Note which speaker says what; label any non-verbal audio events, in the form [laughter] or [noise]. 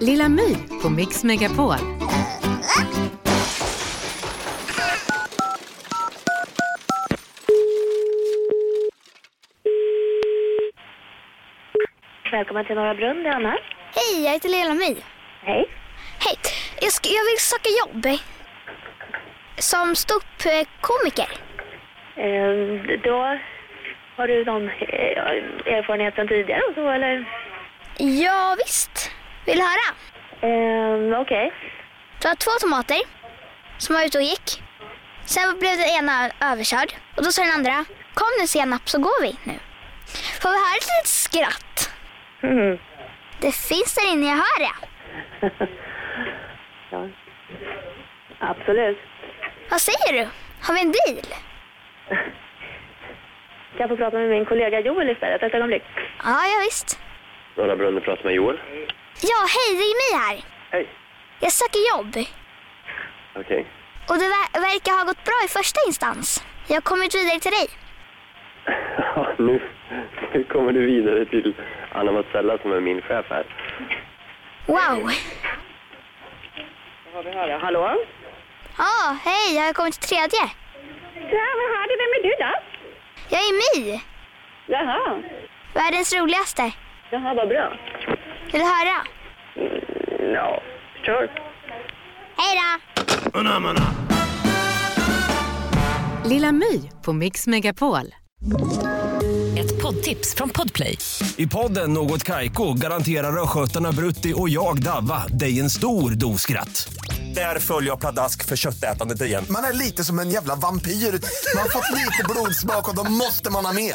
Speaker 1: Lilla My på Mix Megapol.
Speaker 2: Välkommen till Norra Brunn, det är Anna.
Speaker 3: Hej, jag heter Lilla My.
Speaker 2: Hej.
Speaker 3: Hej, jag, sk- jag vill söka jobb. Som ståuppkomiker.
Speaker 2: Ehm, då har du någon eh, erfarenhet sedan tidigare och så eller?
Speaker 3: Ja, visst. Vill du höra?
Speaker 2: Ehm, Okej.
Speaker 3: Det var två tomater som var ute och gick. Sen blev den ena överkörd och då sa den andra, kom nu senap så går vi nu. Får vi höra ett litet skratt?
Speaker 2: Mm.
Speaker 3: Det finns där inne, jag hör det.
Speaker 2: Ja. Absolut.
Speaker 3: Vad säger du? Har vi en deal?
Speaker 2: Kan jag få prata med min kollega Joel istället ett ögonblick?
Speaker 3: Ja, ja visst.
Speaker 4: Norra Brunnen pratar med Joel.
Speaker 3: Ja, hej, det är mig här.
Speaker 4: Hej.
Speaker 3: Jag söker jobb.
Speaker 4: Okej. [laughs]
Speaker 3: Och det ver- verkar ha gått bra i första instans. Jag har kommit vidare till dig.
Speaker 4: Ja, nu, nu kommer du vidare till Anna Mazzella som är min chef här.
Speaker 3: Wow!
Speaker 2: Vad har vi höra? Hallå?
Speaker 3: Ja, hej, jag har kommit till tredje.
Speaker 2: Ja, vad har du? Vem är du då?
Speaker 3: Jag är My,
Speaker 2: Jaha.
Speaker 3: världens roligaste.
Speaker 2: Jaha, vad bra.
Speaker 3: Vill du höra?
Speaker 2: Ja, sure.
Speaker 3: Hej då!
Speaker 1: Lilla My på Mix Megapol.
Speaker 5: Ett poddtips från Podplay.
Speaker 6: I podden Något Kaiko garanterar östgötarna Brutti och jag, Davva, dig en stor dos skratt. Där följer jag pladask för köttätandet igen.
Speaker 7: Man är lite som en jävla vampyr. Man har fått lite blodsmak och då måste man ha mer.